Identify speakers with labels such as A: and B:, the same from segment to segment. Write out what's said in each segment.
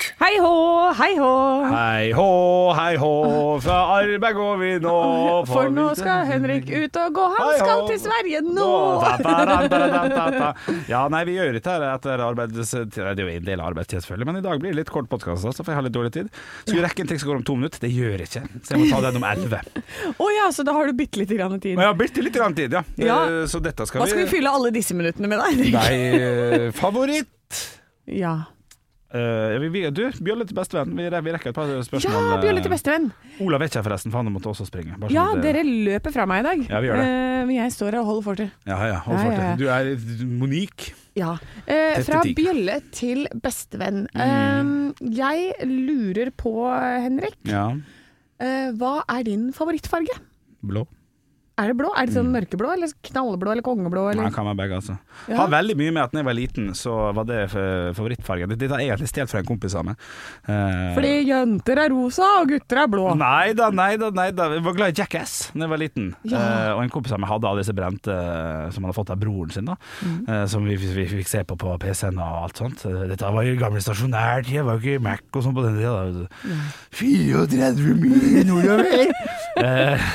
A: Hei hå, hei hå.
B: Hei hå, hei hå, fra arbeid går vi nå.
A: For nå skal Henrik ut og gå. Han
B: Hei hå.
A: skal til Sverige nå!
B: Da, da, da, da, da, da, da. Ja, nei, vi gjør dette her etter arbeids... Det er jo en del arbeidstid, selvfølgelig, men i dag blir det litt kort podkast, altså, for jeg har litt dårlig tid. Skulle rekke en ting som går om to minutter. Det gjør jeg ikke, så jeg må ta den om elleve.
A: Å ja, så da har du bitte lite grann tid.
B: Men jeg har bitte litt grann tid, ja.
A: Ja.
B: Eh, Så dette skal
A: Hva skal vi
B: vi
A: fylle alle disse minuttene med, da? Henrik?
B: Nei, eh, favoritt
A: Ja.
B: Eh, vi, vi, Du, Bjølle til bestevenn. Vi, re- vi rekker et par
A: ja,
B: spørsmål. eh,
A: Bjølle til bestevenn.
B: Olav er ikke her, forresten, for han måtte også springe. Bare så
A: Ja,
B: det-
A: dere løper fra meg i dag.
B: Ja, vi gjør det.
A: Eh, Men jeg står her og holder fortet.
B: Ja, ja, hold
A: Ja,
B: fart.
A: ja, ja.
B: Du er Monique.
A: Ja. Eh,
B: Tett i
A: fra
B: tid.
A: bjølle til bestevenn.
B: Mm.
A: Eh, jeg lurer på, Henrik,
B: Ja.
A: eh, hva er din favorittfarge?
B: Blå.
A: Er det blå? Er det sånn mørkeblå, eller knallblå, eller kongeblå?
B: Mm. Nei,
A: Eller?
B: kan være begge, altså.
A: Ja.
B: Har veldig mye med at da jeg var liten, så var det f- favorittfargen. Dette er egentlig stjålet fra en kompis av meg. Eh,
A: Fordi jenter er rosa, og gutter er blå.
B: Nei da, nei da, nei da. Jeg var glad i Jackass da jeg var liten.
A: Ja.
B: Eh, og en kompis av meg hadde alle disse brente eh, som han hadde fått av broren sin, da.
A: Mm.
B: Eh, som vi, vi fikk se på på PC-en og alt sånt. Eh, Dette var jo gamle stasjonærtid, det var jo ikke Mac og sånn på den tida. da. 34 mil nordover! eh,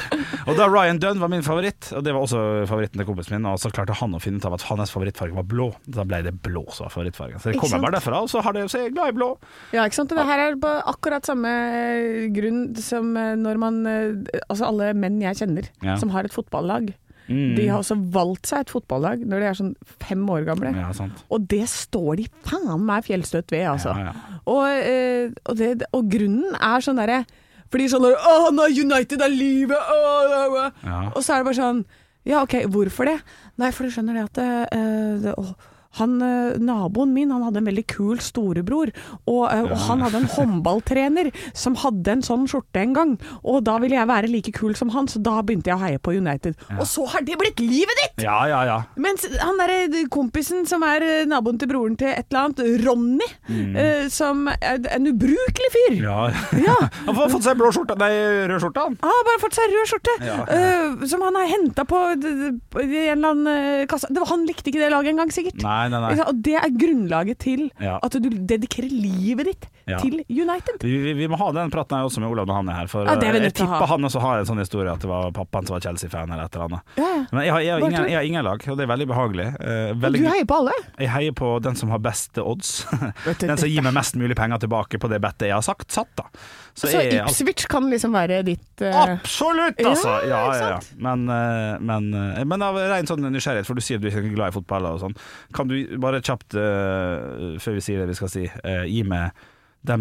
B: og da Ryan Dunn var min favoritt, og det var også favoritten til kompisen min, og så klarte han å finne ut av at hans favorittfarge var blå. Da ble det blå som var favorittfargen. Så det
A: Ikke
B: kommer
A: sant?
B: bare derfra, og så, har det, så er jeg glad i blå.
A: Ja, ikke sant? Og Det her er på akkurat samme eh, grunn som eh, når man eh, Altså alle menn jeg kjenner
B: Ja. Mm.
A: som har et fotballag. De har også valgt seg et fotballag når de er sånn fem år gamle.
B: Ja, sant.
A: Og det står de faen meg fjellstøtt ved, altså.
B: Ja, ja.
A: Og, eh, og, det, og grunnen er sånn derre For de er sånn der, Å, han er United er livet! Å, å, å.
B: Ja.
A: Og så er det bare sånn Ja, OK, hvorfor det? Nei, for du skjønner det at eh, det, å, han, eh, Naboen min han hadde en veldig kul storebror, og, eh, og han hadde en håndballtrener som hadde en sånn skjorte en gang. Og da ville jeg være like kul som han, så da begynte jeg å heie på United. Og så har det blitt livet ditt!
B: ja, ja, ja.
A: Mens han derre kompisen som er eh, naboen til broren til et eller annet, Ronny, eh, som er en ubrukelig fyr.
B: Mm. Ja.
A: Ja.
B: Han har fått seg blå skjorte, nei, rød skjorte. han.
A: Han har bare fått seg rød skjorte,
B: Ja.
A: eh, som han har henta på d- d- på en eller annen eh, kasse. Det var, han likte ikke det laget engang, sikkert.
B: Nei, nei,
A: Ikke
B: nei.
A: sant? Og det er grunnlaget til
B: Ja.
A: at du dedikerer livet ditt
B: Ja.
A: til United.
B: Vi, vi, vi må ha den praten her også med Olav når han er her. For
A: Ja, det er vi
B: eh, jeg
A: nødt til å ha.
B: tipper han også har en sånn historie at det var pappaen som var Chelsea-fan eller et eller annet.
A: Ja, ja.
B: Men jeg har, jeg, har
A: Bare
B: ingen,
A: tull.
B: jeg har ingen lag, og det er veldig behagelig. Eh,
A: Og
B: veldig,
A: du heier på alle.
B: jeg heier på den som har beste odds.
A: Vet du,
B: den som gir meg mest mulig penger tilbake på det bettet jeg har sagt, satt, da. Så,
A: Så
B: jeg er alltid-
A: Ipswich kan liksom være ditt eh,
B: Absolutt, altså!
A: Ja,
B: Ja, ja, ja.
A: ikke
B: Men, eh, men, eh, men av ren sånn nysgjerrighet, for du sier du ikke er glad i fotball og sånn, kan du bare kjapt, eh, før vi sier det vi skal si, eh, gi meg de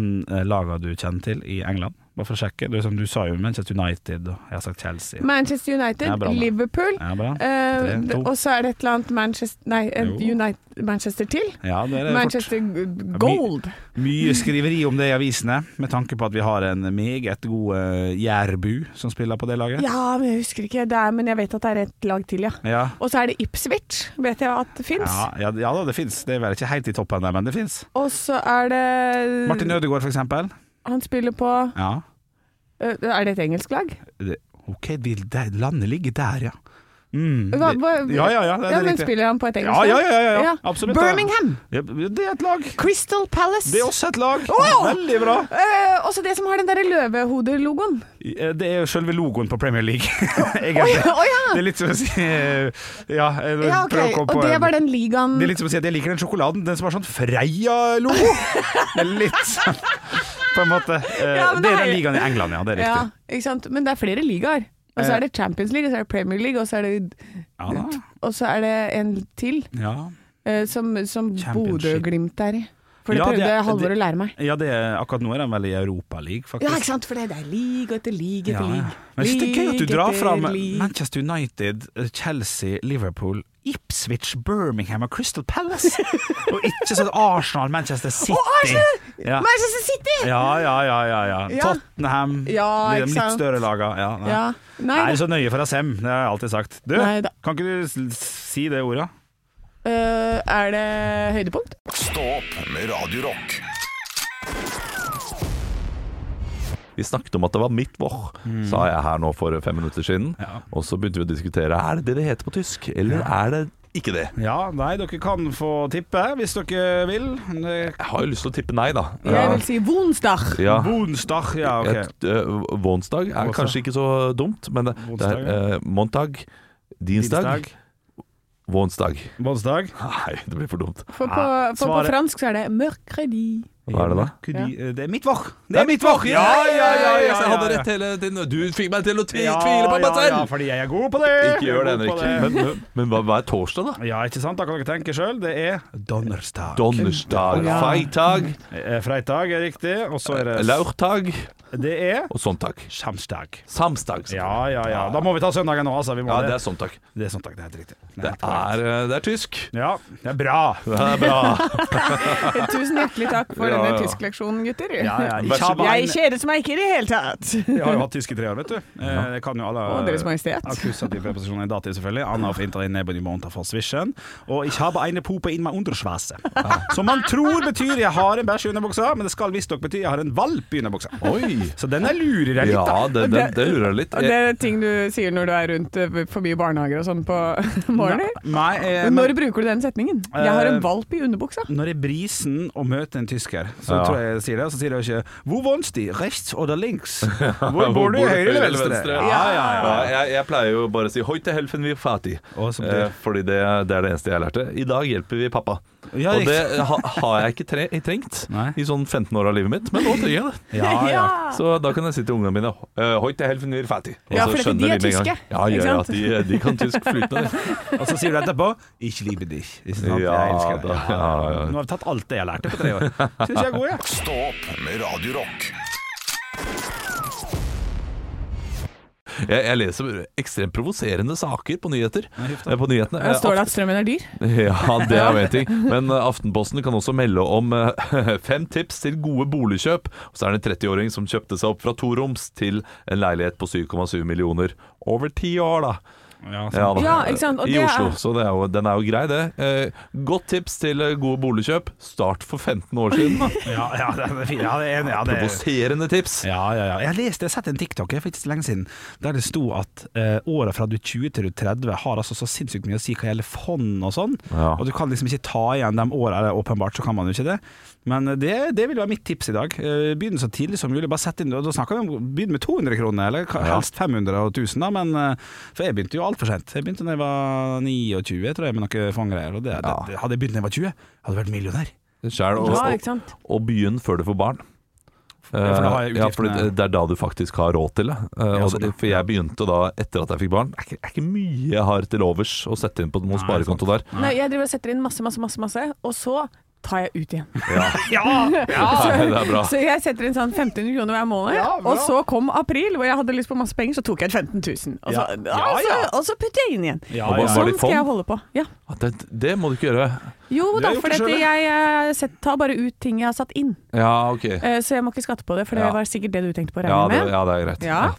B: lagene du kjenner til i England? Bare for å sjekke. Du, som du sa jo Manchester United, og jeg har sagt Chelsea.
A: Manchester United,
B: Ja, bra, da.
A: Liverpool,
B: Ja, bra.
A: eh,
B: Tre, to.
A: og så er det et eller annet Manchester, nei, eh,
B: Jo.
A: United, Manchester til.
B: Ja, det er fort.
A: Manchester Gold.
B: Mye skriveri om det i avisene, med tanke på at vi har en meget god eh, Jærbu som spiller på det laget.
A: Ja, men jeg husker ikke. Det er, men jeg vet at det er et lag til, ja.
B: Ja.
A: Og så er det Ipswich, vet jeg at det fins.
B: Ja, ja, ja da, det fins. Det er vel ikke helt i toppen der, men det fins.
A: Og så er det
B: Martin Ødegaard, for eksempel.
A: Han spiller på
B: Ja.
A: øh, Er det et engelsk lag?
B: det, Ok, vil det, landet ligger der, ja. Mm,
A: Hva-
B: det-
A: hva-
B: ja, ja, ja, det,
A: ja,
B: det er
A: men
B: riktig.
A: spiller han på et engelsk
B: Ja,
A: lag?
B: ja, ja, ja, ja, absolutt, ja.
A: Birmingham!
B: Ja, det er et lag.
A: Crystal Palace!
B: Det er også et lag.
A: Wow!
B: Veldig bra.
A: Øh, også det som har den derre løvehodelogoen.
B: Eh, Det er jo selve logoen på Premier League, egentlig.
A: Å ja, å ja.
B: Det er litt som å si eh, Ja, jeg
A: ja ok.
B: prøver å komme
A: Og
B: på
A: det
B: en-
A: var den ligaen
B: det er litt som å si at jeg liker den sjokoladen, den som har sånn Freia-logo. Det er litt sånn, på en måte. Eh,
A: Ja, men
B: det er
A: det
B: den
A: er-
B: ligaen i England, ja. Det er
A: Ja,
B: riktig.
A: ikke sant? Men det er flere ligaer. Og så
B: Eh.
A: er det Champions League, og så er det Premier League, og så er det,
B: Ja, da.
A: og så er det en til.
B: ja.
A: Eh, som som
B: Championship.
A: Bodø-Glimt er i. For det
B: Ja, det-
A: prøvde Halvor
B: det-
A: å lære meg.
B: ja det er, akkurat nå er den vel i Europaligaen, faktisk.
A: Ja, ikke sant? For det er league etter league etter league.
B: Men jeg synes det er gøy at du
A: League
B: drar
A: etter
B: fram
A: league.
B: Manchester United, eh, Chelsea, Liverpool, Ipswich, Birmingham og Crystal Palace. og ikke sånn Arsenal, Manchester City.
A: Og Arsenal!
B: Ja.
A: Manchester City!
B: Ja, ja, ja, ja, ja.
A: Ja.
B: Tottenham,
A: Ja,
B: de
A: ikke
B: litt
A: sant.
B: større laga. Ja, nei.
A: Ja. Nei,
B: Jeg er
A: da.
B: så nøye for ASM, det har jeg alltid sagt. Du,
A: Nei da.
B: kan ikke du s- si det ordet?
A: Eh, er det høydepunkt?
C: Stå opp med Radio Rock
D: Vi snakket om at det var mitt vår, sa jeg her nå for fem minutter siden.
B: Mm. Ja.
D: Og så begynte vi å diskutere er det det det heter på tysk, eller er det ikke det.
B: Ja, nei, dere kan få tippe hvis dere vil. Eh, Det-
D: Jeg har jo lyst til å tippe nei, da.
A: Jeg vil si Wonstach.
D: Ja.
B: Bonstag, ja, ok.
D: Et, eh, Vonsdag er
B: Vonsdag.
D: kanskje ikke så dumt, men det, det
B: Vonsdag,
D: er eh, Montag, Dinsdag, Vonsdag.
B: Bonsdag.
D: Nei, det blir for dumt.
A: For på,
B: Ja,
A: for på
B: svaret-
A: fransk så er det mørkredi.
D: Hva er det da?
B: Kudi- Det er midtvår.
D: Det er mitt valg! Ja, ja,
B: ja,
D: ja, Jeg hadde
B: ja.
D: rett hele tiden. Du fikk meg til å tvi
B: Ja,
D: tvile på meg
B: ja, Ja,
D: selv!
B: fordi jeg er god på det.
D: Ikke gjør det,
B: Jeg er god
D: Henrik.
B: på
D: Men, men, men hva, hva er torsdag, da?
B: Ja, ikke sant? Da kan dere tenke sjøl. Det er Donnerstag.
D: Donnersdag,
A: Ja.
D: Feitag,
B: Eh, Freitag er riktig, og så
D: Eh,
B: er det
D: Laurtag
B: Det er
D: og Sonntag.
B: Samstag.
D: Samstag. selvfølgelig.
B: Ja, ja, ja. Da må vi ta søndagen nå, altså. Vi må
D: Ja, det
B: det.
D: er Sonntag.
B: Det er Sonntag, det er helt riktig. Det er
D: Det
B: helt korrekt.
D: er, eh, det er tysk.
B: Ja, det er bra.
D: Det er bra.
A: Tusen hjertelig takk for
D: Ja, ja.
A: denne tyskleksjonen, gutter.
B: Ja, ja.
D: Vær så god.
A: Jeg kjedet meg ikke i det hele tatt.
B: Jeg har jo hatt tysk i tre år, vet du. Eh, Jeg kan jo alle
A: Å, Deres Majestet.
B: Akkusativ preposisjon i dativ, selvfølgelig. Anna auf hinter inne på die Monta von Zwischen. Og ich habe eine Puppe in mein Unterschwase. Som man tror betyr 'jeg har en bæsj i underbuksa', men det skal visstnok bety 'jeg har en valp i underbuksa'.
D: Oi.
B: Så den er lurer jeg litt, da.
D: Ja, det, det, det lurer jeg litt.
A: Det er ting du sier når du er rundt eh, forbi barnehager og sånn på morgenen.
B: Nei, eh,
A: Når
B: men Eh,
A: bruker du den setningen? Jeg har en valp i underbuksa.
B: når jeg brisen og møter en tysker, så
D: Ja.
B: tror jeg jeg sier det. Og så sier jeg ikke 'Hvor wohnst de? Rechts oder links?' Hvor
D: Hvor
B: bor du?
D: bor du?
B: Høyre eller
D: Høyre eller
B: venstre?
D: venstre?
B: Ja, ja,
D: Ja,
B: ja.
D: jeg, jeg pleier jo bare å si 'Hoi til helfen vi er fattig',
B: Og så betyr-
D: eh, fordi det, det er det eneste jeg lærte. I dag hjelper vi pappa.
B: Ja,
D: og det
B: riktig.
D: ha, har jeg ikke tre, trengt
B: Nei.
D: i sånn 15 år av livet mitt, men nå trenger jeg det.
B: Ja, ja.
D: Så da kan jeg si til ungene mine eh, 'Hoi til helfen vi er fattig'. Og
A: Ja,
D: så
A: for dette,
D: skjønner
A: de er
D: med en gang.
A: tyske,
D: Ja,
A: ikke
D: ja, ja,
A: sant?
D: de, de kan tysk flytende. de.
B: Og så sier du etterpå 'Ich liebe dich'. Ikke sant?
D: Ja,
B: jeg elsker deg.
D: da- ja, ja.
B: Nå har vi tatt alt det jeg lærte på tre år. Syns jeg er god, jeg.
C: Stå opp med Radio Rock.
D: Jeg, jeg leser ekstremt provoserende saker på nyheter. eh, På nyhetene.
A: Her
D: Eh,
A: står det at strømmen er dyr.
D: Ja, det er jo en ting. Men eh, Aftenposten kan også melde om eh, fem tips til gode boligkjøp. Og så er det en 30-åring som kjøpte seg opp fra toroms til en leilighet på 7,7 millioner. Over ti år, da.
B: Ja, sånn. sant.
D: Ja, da.
A: Ja, ikke sant, og
D: I
A: det er-
D: Oslo. Så det er jo, den er jo grei, det. Eh, Godt tips til eh, gode boligkjøp. Start for 15 år siden, da.
B: Ja, ja, det er fint. Ja, det er enig. Ja, det er
D: Provoserende tips.
B: ja, ja, ja. Jeg har lest, jeg har sett en TikTok jeg, for ikke så lenge siden der det sto at eh, åra fra du er 20 til du er 30 har altså så sinnssykt mye å si hva gjelder fond og sånn.
D: Ja.
B: Og du kan liksom ikke ta igjen de åra, eller åpenbart så kan man jo ikke det. Men eh, det, det vil være mitt tips i dag. Eh, Begynn så tidlig som mulig. Bare sett inn, og da snakker vi om Begynn med 200 kroner, eller ka-
D: Ja.
B: helst 500 og 1000, da. Men, eh, for jeg begynte jo altfor sent. Jeg begynte da jeg var 29, tror jeg, med noe fondgreier. Og det,
D: Ja.
B: det, hadde jeg begynt da jeg var 20, hadde jeg vært millionær.
D: Skjær og,
A: Ja, ikke
D: og,
A: sant?
D: og begynn før du får barn.
B: for da har jeg
D: Eh, ja, for
B: utgiftene-
D: det, det er da du faktisk har råd til det. Eh, og
B: sånn,
D: det- For jeg begynte da etter at jeg fikk barn. Det er ikke, er ikke mye jeg har til overs å sette inn på noen
B: Nei,
D: sparekonto der.
A: Nei, jeg driver og setter inn masse, masse, masse, masse, og så tar jeg ut igjen.
D: Nei, det er bra.
A: Ah, Så jeg setter inn sånn 1500 kroner hver måned,
B: Ah. Ja, bra.
A: og så kom april, hvor jeg hadde lyst på masse penger, så tok jeg 15 000. Og så, altså,
B: Ja. Ja,
A: Og så,
B: ja.
A: og så putter jeg inn igjen.
B: Ja,
D: Og
B: ja.
D: bare- Var
A: Sånn
D: det fond?
A: skal jeg holde på. Ja.
D: Ja, Det, det må du ikke gjøre.
A: Jo
B: Du har
A: da,
B: gjort
A: for
B: det
A: dette,
B: selv,
A: jeg eh, set- tar bare ut ting jeg har satt inn.
D: Ja, ok. Ja,
A: Eh, Så jeg må ikke skatte på det, for det
D: Ja.
A: var sikkert det du tenkte på å
D: det,
A: regne med.
D: ja det er greit.
A: Ja.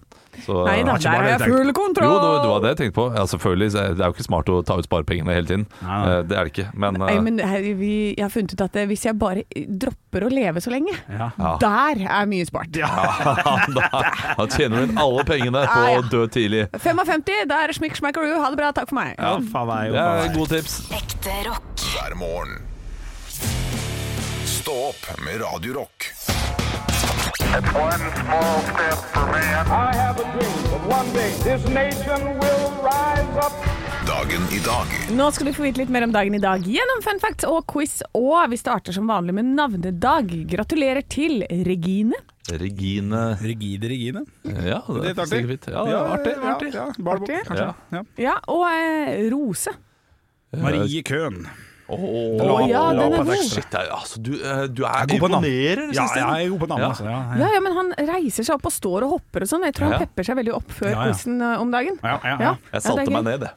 D: Så,
A: Nei da,
B: ikke
A: der
B: bare
A: har
B: det
A: jeg
B: jeg
A: full
D: Jo,
A: kontroll!
D: det var- det var det jeg tenkte på. Ja, selvfølgelig, så er- Det er jo ikke smart å ta ut sparepengene hele tiden.
B: Nei, nei.
D: Eh, Det er det ikke. Men,
A: Nei,
D: eh,
A: men her, vi, jeg har funnet ut at eh, hvis jeg bare dropper å leve så lenge,
B: Ja.
D: Ja.
A: der er mye spart.
D: da, da tjener du inn alle pengene på
A: Ah, Ja, ja.
D: å dø tidlig.
A: 55, da er det smikk, smekk og ru. Ha det bra, takk for meg.
B: Ja, faen meg, jo,
D: Det
B: faen
D: er
B: meg.
D: gode tips.
E: Ekte rock.
C: hver morgen. Stå opp med Radio Rock.
F: One small step for man.
G: I have a dream that one day this nation will rise up.
C: Dagen i dag
A: Nå skal du få vite litt mer om dagen i dag gjennom fun facts og quiz. Og vi starter som vanlig med navnedag. Gratulerer til Regine.
D: Regine
B: Rigide Regine.
D: Ja, det
B: Litt
D: er
B: artig.
D: sikkert fint. Ja, det er artig.
B: Ja,
D: artig.
B: ja, Barnebok,
A: Artig.
B: kanskje. Ja. Eh,
A: Ja, og eh, Rose.
B: Marie Køhn.
D: Åh,
B: Å,
A: ja, den er
D: Åh,
A: god.
D: Shit, det er- altså, du, eh, du
B: Jeg er
D: er
B: god på navn.
D: imponerer,
B: Ja, ja,
D: synes jeg.
B: jeg er god på navn,
D: Ja.
B: altså. Ja, ja.
A: Ja, ja, men han reiser seg opp og står og hopper og sånn. Jeg tror
D: Ja.
A: han pepper seg veldig opp før
B: Ja, ja.
A: quizen eh, om dagen.
B: Ja, ja, ja.
D: Jeg
A: Ja, det er
D: salte
A: gøy.
D: meg ned, det.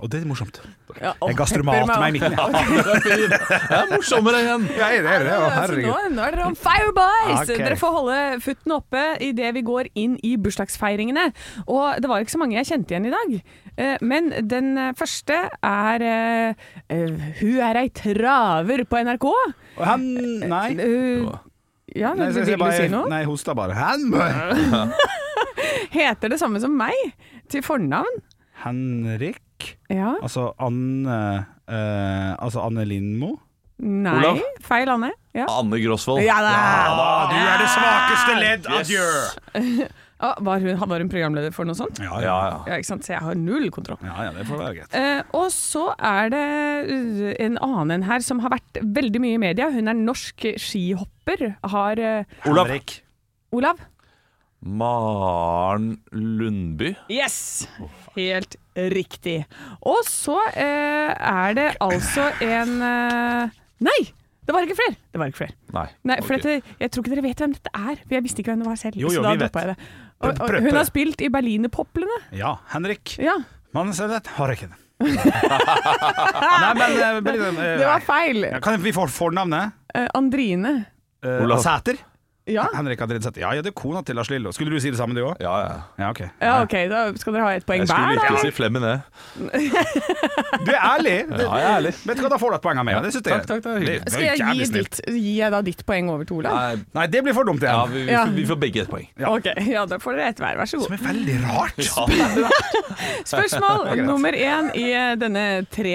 B: Og det er morsomt.
A: Ja, og
B: Jeg gastromater
A: pepper
B: meg i
A: opp.
B: midten. jeg.
D: Det er morsommere igjen!
B: Ja, det er det, ja,
A: Ja, så nå, nå er dere on fire, boys!
B: Ok.
A: Dere får holde futten oppe idet vi går inn i bursdagsfeiringene. Og det var ikke så mange jeg kjente igjen i dag. Eh, Men den eh, første er eh, eh, Hun er ei traver på NRK.
B: Og han Nei.
A: Eh, ja,
B: Nei,
A: vil vil
B: så- så
A: du si
B: bare-
A: noe?
B: nei, jeg hosta bare. Han
A: Heter det samme som meg til fornavn?
B: Henrik Bech.
A: Ja.
B: Altså Anne eh, Altså Anne Lindmo.
A: Nei,
D: Olav?
A: feil Anne. Ja.
D: Anne Grosvold.
A: Ja da!
B: du er det svakeste ledd! Adjø!
A: Ja, var, hun, var hun programleder for noe sånt?
B: Ja,
D: Ja,
B: ja.
D: ja.
A: Ja, ikke sant? Så jeg har null kontroll.
B: ja, ja, det får være greit.
A: Eh, og så er det uh, en annen her som har vært veldig mye i media. Hun er norsk skihopper. Har eh,
D: Olav.
B: Henrik.
A: Olav?
D: Maren Lundby.
A: Yes! Helt riktig. Og så eh, er det altså en eh, Nei! Det var ikke flere! Det var ikke flere.
D: Nei.
A: Nei, for
D: ok.
A: dette, Jeg tror ikke dere vet hvem dette er, for jeg visste ikke hvem det var selv.
B: Jo, jo,
A: så da
B: vi vet.
A: droppa jeg det. Og,
B: Prøv-
A: og,
B: prøv-
A: hun
B: prøv.
A: har spilt i Berlinerpoplene.
B: Ja, Henrik.
A: Ja.
B: Mannen sier det, har ikke det. Nei, men eh, blir det, eh,
A: Det var feil.
B: ja, Kan vi få fornavnet?
A: Eh, Andrine.
B: Eh,
D: Olav.
B: Sæter?
A: Ja.
B: Henrik Andrin Sæter. Ja, ja, det er kona til Lars Lillo. Skulle du si det samme, du òg?
D: Ja, ja.
B: Ja, ok.
A: ja, OK, da skal dere ha ett poeng
D: Jeg skulle
A: hver, da.
D: virkelig si Flemmen, jeg.
B: Du er ærlig!
D: Ja, jeg er ærlig.
B: Vet du hva, da får du et poeng av meg. Det synes jeg.
D: Takk, takk, det er hyggelig.
B: Det- det
A: Skal jeg
B: jævlig
A: gi,
B: snilt.
A: ditt, gir jeg da ditt poeng over til Olav?
D: Nei,
B: Nei, det blir for dumt
D: ja,
B: igjen.
D: vi, vi,
A: Ja.
D: vi får begge et poeng.
A: Ok, ja, da får dere ett hver. Vær så
B: Som
A: god.
B: er veldig rart.
A: Spørsmål nummer én i denne tre,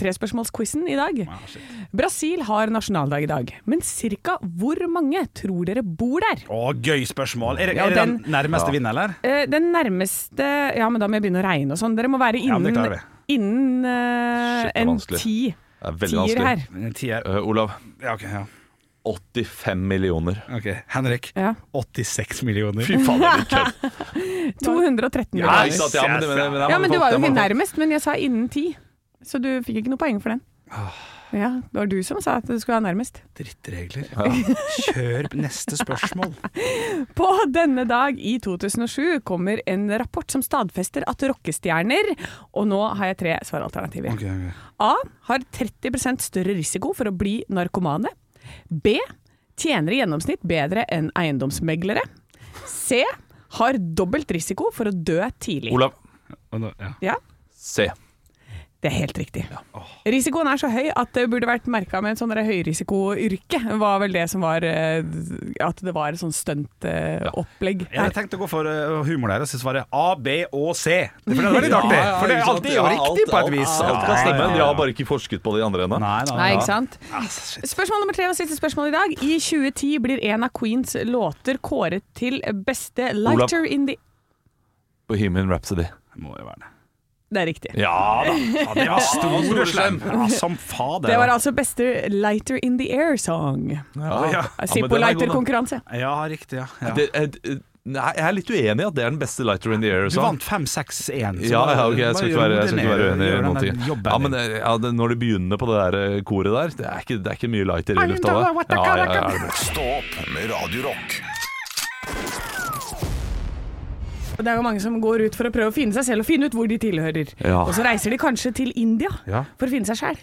A: trespørsmålsquizen i dag.
B: Ah, shit.
A: Brasil har nasjonaldag i dag, men ca. hvor mange tror dere bor der?
B: Å, gøy spørsmål. Er, det-
A: Ja,
B: er det den
A: den-
B: nærmeste vinner, eller?
A: Eh, Den nærmeste Ja, men da må jeg begynne å regne og sånn. Dere må være
B: Ja, men det
A: innen,
B: klarer
A: innen eh,
D: Shit, det er
A: en
D: vanskelig.
A: ti
D: Det er veldig
A: tier
D: vanskelig.
A: her.
B: En tier.
D: Eh, Olav.
B: Ja, ok. Ja.
D: 85 millioner.
B: ok. Henrik.
A: Ja.
B: 86 millioner.
D: Fy faen, det er kødd.
A: 213
D: Ja,
B: Nei,
A: milliarder.
D: ikke sant, ja, men det- men det- det-
A: Ja, men du var jo
D: det-
A: ikke
D: det-
A: nærmest, men jeg sa innen ti. Så du fikk ikke noe poeng for den. Ja, det var du som sa at du skulle være nærmest.
B: Drittregler. Kjør neste spørsmål.
A: På denne dag i 2007 kommer en rapport som stadfester at rockestjerner Og nå har jeg tre svaralternativer.
B: Ok, ok.
A: A. Har 30 større risiko for å bli narkomane. B. Tjener i gjennomsnitt bedre enn eiendomsmeglere. C. Har dobbelt risiko for å dø tidlig.
D: Olav.
B: Og nå- ja.
A: Ja,
D: Se.
A: Det er helt riktig. Risikoen er så høy at det burde vært merka med en sånn der høyrisikoyrke. Var vel det som var eh, At det var et sånn stuntopplegg.
B: Jeg hadde tenkt å gå for eh, humor der, og så svarer jeg A, B og C. Det for det er veldig artig. For det er
D: ikke sant?
B: alltid jo
D: Ja,
B: riktig
D: alt-
B: på et
D: alt-
B: vis.
D: Alt
B: Ja,
D: kan
B: ja,
D: stemme.
B: ja.
D: De har bare ikke forsket på de andre ennå.
B: Nei, nei,
A: Nei,
B: ja.
A: ikke sant?
B: Ah, shit.
A: Spørsmål nummer tre og siste spørsmål i dag. I 2010 blir en av Queens låter kåret til beste lighter in the
D: Bohemian Rhapsody.
B: Det må jo være det.
A: Det er riktig.
D: Ja da.
B: Ja, det var stor og slem. Ja, som fader.
A: Det var altså beste lighter in the air song.
B: ja.
D: men den er god, da.
A: Zippo-lighter-konkurranse.
B: Ja, riktig, ja. ja.
D: Det, eh, d- nei, jeg er litt uenig i at det er den beste lighter in the air. sånn.
B: Du vant 5-6-1. så
D: Ja,
B: bare-
D: ja, ok, jeg
B: bare
D: skal
B: gjør
D: ikke være, jeg
B: det
D: skal ikke være
B: ned,
D: uenig i
B: gjør
D: noen
B: den
D: ting.
B: der jobben
D: Ja, men
B: din.
D: eh, ja, det, når de begynner på det der eh, koret der, det er ikke, det er ikke mye lighter i lufta da. Ja, ja, ja, det blir-
C: Stå opp med Radio Rock.
A: Det er jo mange som går ut for å prøve å finne seg selv og finne ut hvor de tilhører.
D: Ja.
A: Og så reiser de kanskje til India
B: Ja.
A: for å finne seg sjæl.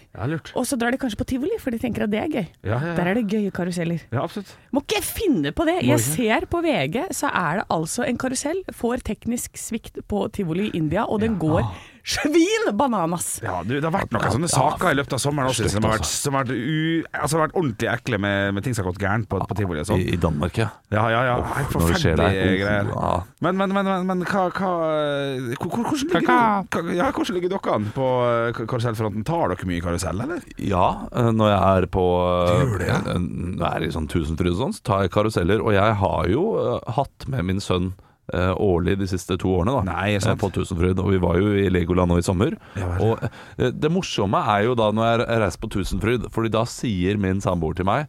A: Og så drar de kanskje på tivoli, for de tenker at det er gøy.
B: Ja, ja, ja.
A: Der er det gøye karuseller.
B: Ja, absolutt.
A: Må ikke finne på det! Jeg ser på VG, så er det altså en karusell får teknisk svikt på tivoli i India, og den går svin bananas!
B: Ja, du, det har vært noen sånne saker i løpet av sommeren også, som har vært, som har vært, u, altså, har vært ordentlig ekle med, med ting som har gått gærent på, på tivoli og
D: I,
B: sånn.
D: I Danmark, ja.
B: Ja, ja, ja. Nei,
D: Uff, når det skjer
B: Forferdelige
D: der.
B: greier.
D: Ja.
B: Men, men, men, men, men hva, hva eh, hvor- hvor- hvordan, ligger, hva- ja, hvordan ligger dere an på eh, k- karusellfronten? Tar dere mye karusell, eller?
D: Ja, eh, når jeg er på eh,
B: Du gjør det, ja?
D: eh, Når jeg er i sånn tusenfryd og sånn, så tar jeg karuseller. Og jeg har jo eh, hatt med min sønn eh, årlig de siste to årene, da.
B: Nei, sant.
D: eh, På Tusenfryd. Og vi var jo i Legoland nå i sommer.
B: Ja vel.
D: og eh, det morsomme er jo da når jeg reiser på Tusenfryd, Fordi da sier min samboer til meg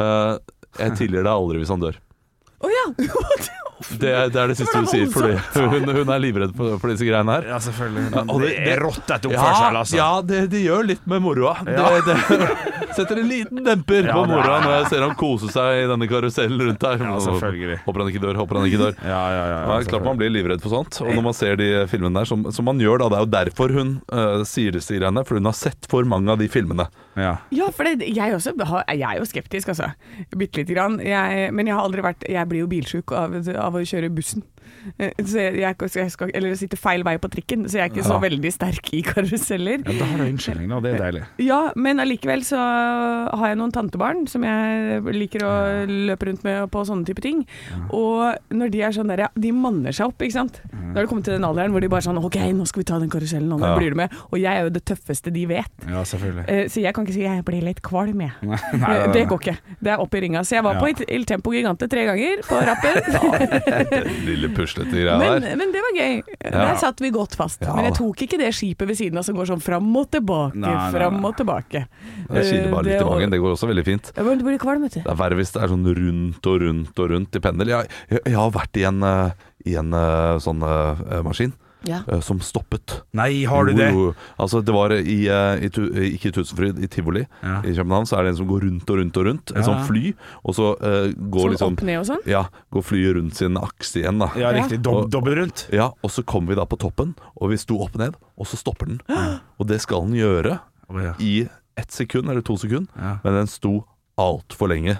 D: eh, Jeg tilgir deg aldri hvis han dør.
A: Å ja!
D: Det er det, er det siste hun sier, fordi hun, hun er livredd for, for disse greiene her.
B: Ja, selvfølgelig.
D: Ja, og
B: Men det
D: det-
B: er
D: det-
B: rottete oppførsel, altså.
D: ja det, det gjør litt med moroa. Det, det setter en liten demper
B: Ja,
D: på
B: det er-
D: moroa når jeg ser han kose seg i denne karusellen rundt her.
B: Ja, selvfølgelig.
D: Håper han ikke dør, håper han ikke dør.
B: Ja, ja, ja,
D: Ja, det er klart man blir livredd for sånt. Og når man ser de filmene der, som, som man gjør da, det er jo derfor hun eh, sier disse greiene. For hun har sett for mange av de filmene.
B: Ja.
A: Ja, for det, jeg, også, har- jeg er jo skeptisk, altså. Bitte lite grann. Jeg, men jeg har aldri vært Jeg blir jo bilsjuk av, av å kjøre bussen. Eh, Så jeg, jeg, jeg skal, eller jeg sitter feil vei på trikken, så jeg er ikke så
B: Ja.
A: veldig sterk i karuseller.
B: Ja, da har du unnskyldning, da. Det er deilig.
A: Ja, men allikevel så har jeg noen tantebarn som jeg liker å løpe rundt med på sånne type ting. Og når de er sånn der, ja, de manner seg opp, ikke sant. Da har det kommet til den alderen hvor de bare sånn OK, nå skal vi ta den karusellen, og nå
D: Ja.
A: blir du med. Og jeg er jo det tøffeste de vet.
B: Ja, selvfølgelig.
A: Eh, Så jeg kan ikke si jeg blir litt kvalm, jeg.
B: Nei, nei,
A: Eh,
B: nei, nei.
A: Det går ikke. Det er opp i ringa. Så jeg var
B: Ja.
A: på Il- Il Tempo Gigante tre ganger på rappen.
D: Lille puslete greia
A: Men,
D: der.
A: men det var gøy. Der satt vi godt fast.
D: Ja,
A: men jeg
D: da.
A: tok ikke det skipet ved siden av som går sånn fram og tilbake,
B: Nei, nei,
A: fram
B: nei.
A: og tilbake. Eh,
D: Jeg kiler bare
B: eh,
D: litt i magen. Det går også veldig fint.
A: Ja, men du blir kvalm, vet du.
D: Det er verre hvis det er sånn rundt og rundt og rundt i pendel. Jeg, jeg, jeg har vært i en, eh, i en eh, sånn eh, maskin
A: Ja.
D: eh, som stoppet.
B: Nei, har du
D: Jo,
B: det?
D: jo. Altså, det var i, eh, i tu, eh, ikke i Tusenfryd, i Tivoli
B: Ja.
D: i København, så er det en som går rundt og rundt og rundt. En
B: Ja.
D: sånn fly, og så eh, går
A: Sånn
D: liksom
A: opp ned og sånn?
D: Ja, går flyet rundt sin akse igjen, da.
B: Ja, riktig. Dob
D: Og-
B: dobbel rundt.
D: Ja, og så kom vi da på toppen, og vi sto opp ned, og så stopper den. Og det skal den gjøre
B: Ja.
D: i ett sekund eller to sekund,
B: Ja.
D: men den sto altfor lenge.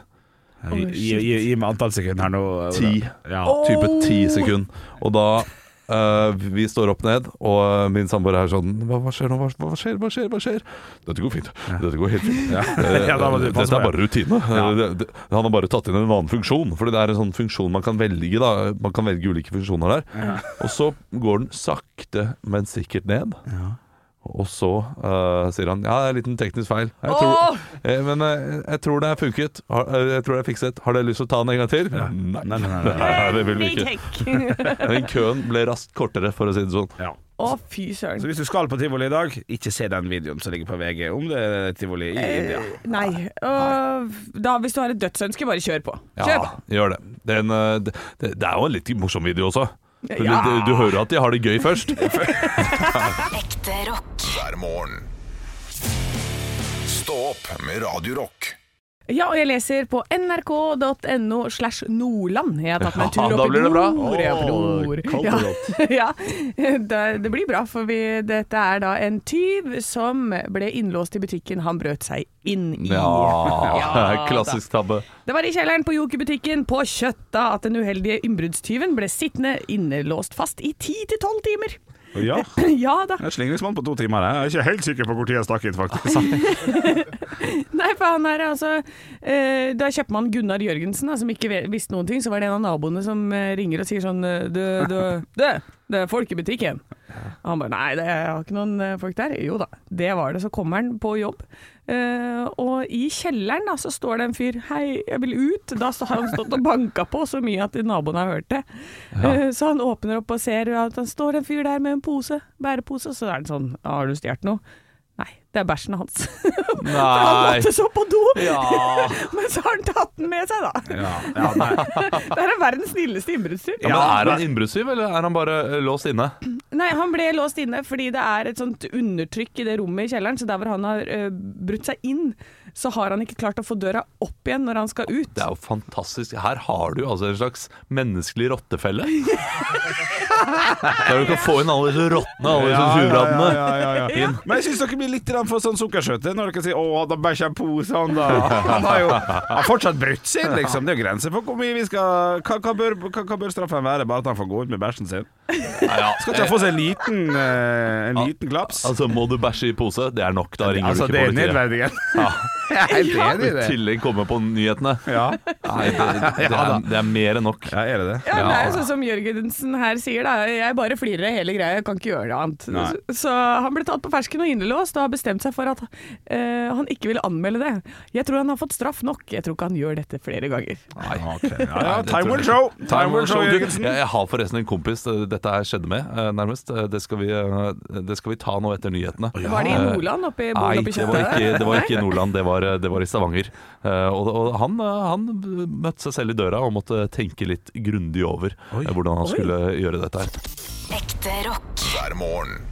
B: Gi, gi, gi, gi meg antall sekunder her nå.
D: Ti.
B: Ja.
D: Type ti sekund. Og da eh, vi står opp ned, og eh, min samboer er sånn hva, hva skjer nå? Hva, hva skjer? Hva skjer? Hva skjer? Dette går fint. Dette går helt fint. Eh,
B: Ja, da må du passe
D: Dette
B: på,
D: er
B: ja.
D: bare rutine.
B: Ja.
D: Eh, det- det- Han har bare tatt inn en annen funksjon. Fordi det er en sånn funksjon man kan velge. da Man kan velge ulike funksjoner der. Og så går den sakte, men sikkert ned. Og så eh, sier han ja, det er en liten teknisk feil. Jeg tror, eh, men eh, jeg tror det er funket. Har, eh, jeg tror det er fikset. Har dere lyst til å ta den en gang til? Nei.
B: Nei, nei, nei, nei.
D: Nei, det vil vi ikke. Den køen ble raskt kortere, for å si det sånn.
B: Ja.
A: Å, fy søren.
B: Så hvis du skal på tivoli i dag, ikke se den videoen som ligger på VG om det er tivoli i
D: Eh,
B: India.
A: Nei. Og da, hvis du har et dødsønske, bare kjør på. Kjør
D: Ja,
A: på.
D: gjør det. Det er, en, eh, det, det er jo en litt morsom video også. For
A: Ja.
D: Du, du hører at de har det gøy først.
E: Ekte rock.
C: hver morgen. Stå opp med Radio Rock.
A: Ja, og jeg leser på nrk.no slash Nordland. Jeg har tatt meg en
D: Ja,
A: tur
D: da
A: opp i
D: blir det bra.
A: nord. Ja,
D: Åh,
A: bror.
D: kaldt og
A: Ja, ja. Det, det blir bra, for vi, dette er da en tyv som ble innlåst i butikken han brøt seg inn i.
D: Ja,
A: da.
D: klassisk tabbe.
A: Det var i kjelleren på Joker-butikken på Kjøtta at den uheldige innbruddstyven ble sittende innelåst fast i 10-12 timer.
B: Ja.
A: Ja da.
B: Jeg er slingringsmann på to timer. Jeg er ikke helt sikker på hvor tid jeg stakk inn, faktisk.
A: Nei, for han her altså eh, Da kjøpmann Gunnar Jørgensen, da, som ikke ve- visste noen ting, så var det en av naboene som eh, ringer og sier sånn eh, Du, du, du, det er folk i butikken. Og han bare Nei, det jeg har ikke noen eh, folk der. Jo da, det var det. Så kommer han på jobb. Eh, og i kjelleren da, så står det en fyr Hei, jeg vil ut. Da så har han stått og banka på så mye at naboen har hørt det. Eh, så han åpner opp og ser at det står en fyr der med en pose, bærepose, og så er det sånn Har du stjålet noe? Nei, det er bæsjen hans. For han måtte så på do, men så har han tatt den med seg, da.
B: Ja, ja, nei.
A: Det her er verdens snilleste innbruddstyv.
D: Ja, men er han innbruddstyv, eller er han bare eh, låst inne?
A: Nei, han ble låst inne fordi det er et sånt undertrykk i det rommet i kjelleren, så der hvor han har eh, brutt seg inn, så har han ikke klart å få døra opp igjen når han skal ut.
D: Det er jo fantastisk. Her har du jo altså en slags menneskelig rottefelle. Der du kan få inn alle disse rottene,
B: Sånn
D: alle disse tjuvraddene.
B: Ja, ja, ja, ja. Men jeg syns dere blir litt grann for sånn sukkersøte når dere sier 'Å, da bæsja jeg på sånn', da. Han har jo han har fortsatt brutt sin, liksom. Det er jo grenser for hvor mye vi skal Hva, hva, bør, hva, hva bør straffen være? Bare at han får gå ut med bæsjen sin?
D: Ja, ja.
B: Skal ikke han få seg en liten, eh, en liten klaps?
D: Altså, må du bæsje i pose? Det er nok. Da ringer
B: Altså,
D: du
B: det
D: ikke
B: er
D: politiet.
B: nedverdigende. Jeg er helt enig
D: I tillegg komme på nyhetene.
B: Ja.
D: Nei, det, det, er, det er mer enn nok.
B: ja, er det det?
A: Ja, det er jo sånn som Jørgensen her sier, da. Jeg bare flirer av hele greia, jeg kan ikke gjøre det annet.
B: Nei.
A: Så, så han ble tatt på fersken og innelåst, og har bestemt seg for at eh, han ikke ville anmelde det. Jeg tror han har fått straff nok, jeg tror ikke han gjør dette flere ganger.
D: Nei.
B: Ja, ja,
D: det
B: time
D: tror
B: will
D: jeg
B: show!
D: ikke.
B: Time will show,
D: Du,
B: Jørgensen.
D: Jeg, jeg har forresten en kompis eh, dette her skjedde med, eh, nærmest. Eh, Det skal vi, eh, det skal vi ta nå etter nyhetene.
A: Var det i
D: Eh,
A: Nordland, oppi
D: Nei,
A: bordet oppi
D: det var
A: kjøttet?
D: ikke, det var ikke i Nordland, det var, det var i Stavanger. Eh, og og han, eh, han møtte seg selv i døra og måtte tenke litt grundig over eh, hvordan han skulle gjøre dette her.
E: Ekte rock.
C: hver morgen.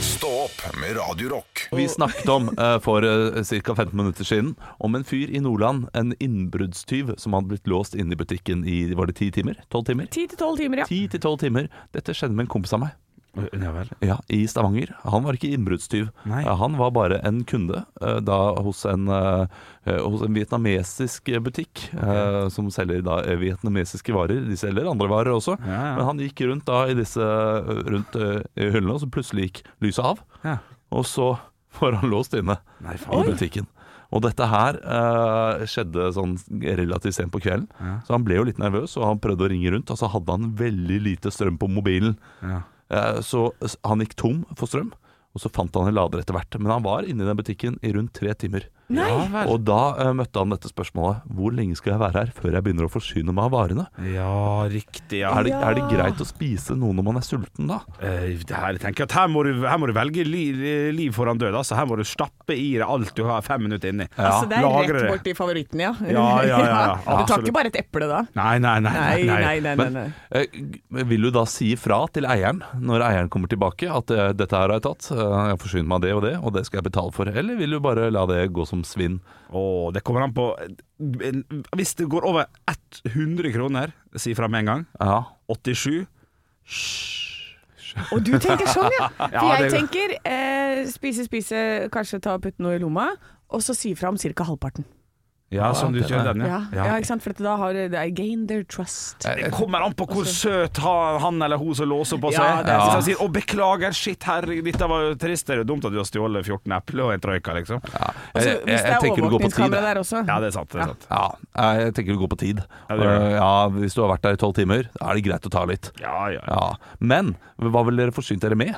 C: Stå opp med Radio Rock.
D: Vi snakket om eh, for uh, ca. 15 minutter siden om en fyr i Nordland, en innbruddstyv som hadde blitt låst inne i butikken i var det 10 timer? 12 timer?
A: Ti til tolv timer, ja.
D: 10-12 timer. Dette skjedde med en kompis av meg.
B: Ja vel.
D: Ja, I Stavanger. Han var ikke innbruddstyv.
B: Nei.
D: Eh, Han var bare en kunde eh, da, hos, en, eh, eh, hos en vietnamesisk eh, butikk eh, som selger da eh, vietnamesiske varer. De selger andre varer også.
B: Ja, ja.
D: Men han gikk rundt da i disse eh, rundt eh, i hyllene, og så plutselig gikk lyset av.
B: Ja.
D: Og så var han låst inne
B: Nei,
D: i
B: faen.
D: butikken. Og dette her eh, skjedde sånn relativt sent på kvelden,
B: Ja.
D: så han ble jo litt nervøs, og han prøvde å ringe rundt, og så hadde han veldig lite strøm på mobilen.
B: Ja.
D: Eh, Så s- han gikk tom for strøm, og så fant han en lader etter hvert. Men han var inne i den butikken i rundt tre timer.
A: Nei.
B: Ja vel.
D: Og da eh, møtte han dette spørsmålet. Hvor lenge skal jeg være her før jeg begynner å forsyne meg av varene?
B: Ja, riktig. Ja.
D: Er det, er det
A: Ja.
D: greit å spise noe når man er sulten da?
B: Eh, det her, tenker jeg at her må du, her må du velge li, liv foran død. Altså. Her må du stappe i deg alt du har fem minutter inni.
A: altså, det er
B: Lagre
A: rett borti favoritten, ja.
B: Ja, ja, ja, ja.
A: Du tar
B: Absolutt.
A: ikke bare et eple da?
B: Nei, nei, nei.
A: Nei, nei, nei. nei, nei,
D: Men eh, g- vil du da si fra til eieren når eieren kommer tilbake at eh, dette her har jeg tatt, eh, jeg forsyner meg av det og det, og det skal jeg betale for? Eller vil du bare la det gå som svinn?
B: Åh, det kommer an på eh, Hvis det går over 100 kroner, si fra med en gang.
D: Ja.
B: 87.
A: Og du tenker sånn, ja. For
B: Ja,
A: jeg
B: det-
A: tenker eh, spise, spise, kanskje ta og putte noe i lomma, og så si fra om ca. halvparten.
B: Ja, sånn du
D: den
B: kjører
D: er-
B: den,
A: Ja.
B: ja.
A: Ja. ikke sant? For at da har de gained their trust.
B: Det kommer an på hvor søt ha- han eller hun som låser på seg
A: Altså- Ja,
B: er.
A: det er
B: Hvis han
D: sant.
B: sier 'Å, beklager, shit, herregud, dette var jo trist', det er jo dumt at du har stjålet 14 epler og en trøyka, liksom.
A: Og så
D: Jeg- jeg-
A: Altså, hvis det
D: jeg
A: er
D: tenker det går på tid,
A: overvåkningskamera
D: jeg.
A: der også.
B: Ja, det er sant. Det er sant.
D: Ja, jeg tenker det går på tid.
B: Ja,
D: Ja,
B: det gjør det.
D: ja, Hvis du har vært der i tolv timer, da er det greit å ta litt.
B: Ja, ja. ja.
D: Ja. Men hva vil dere forsynt dere med?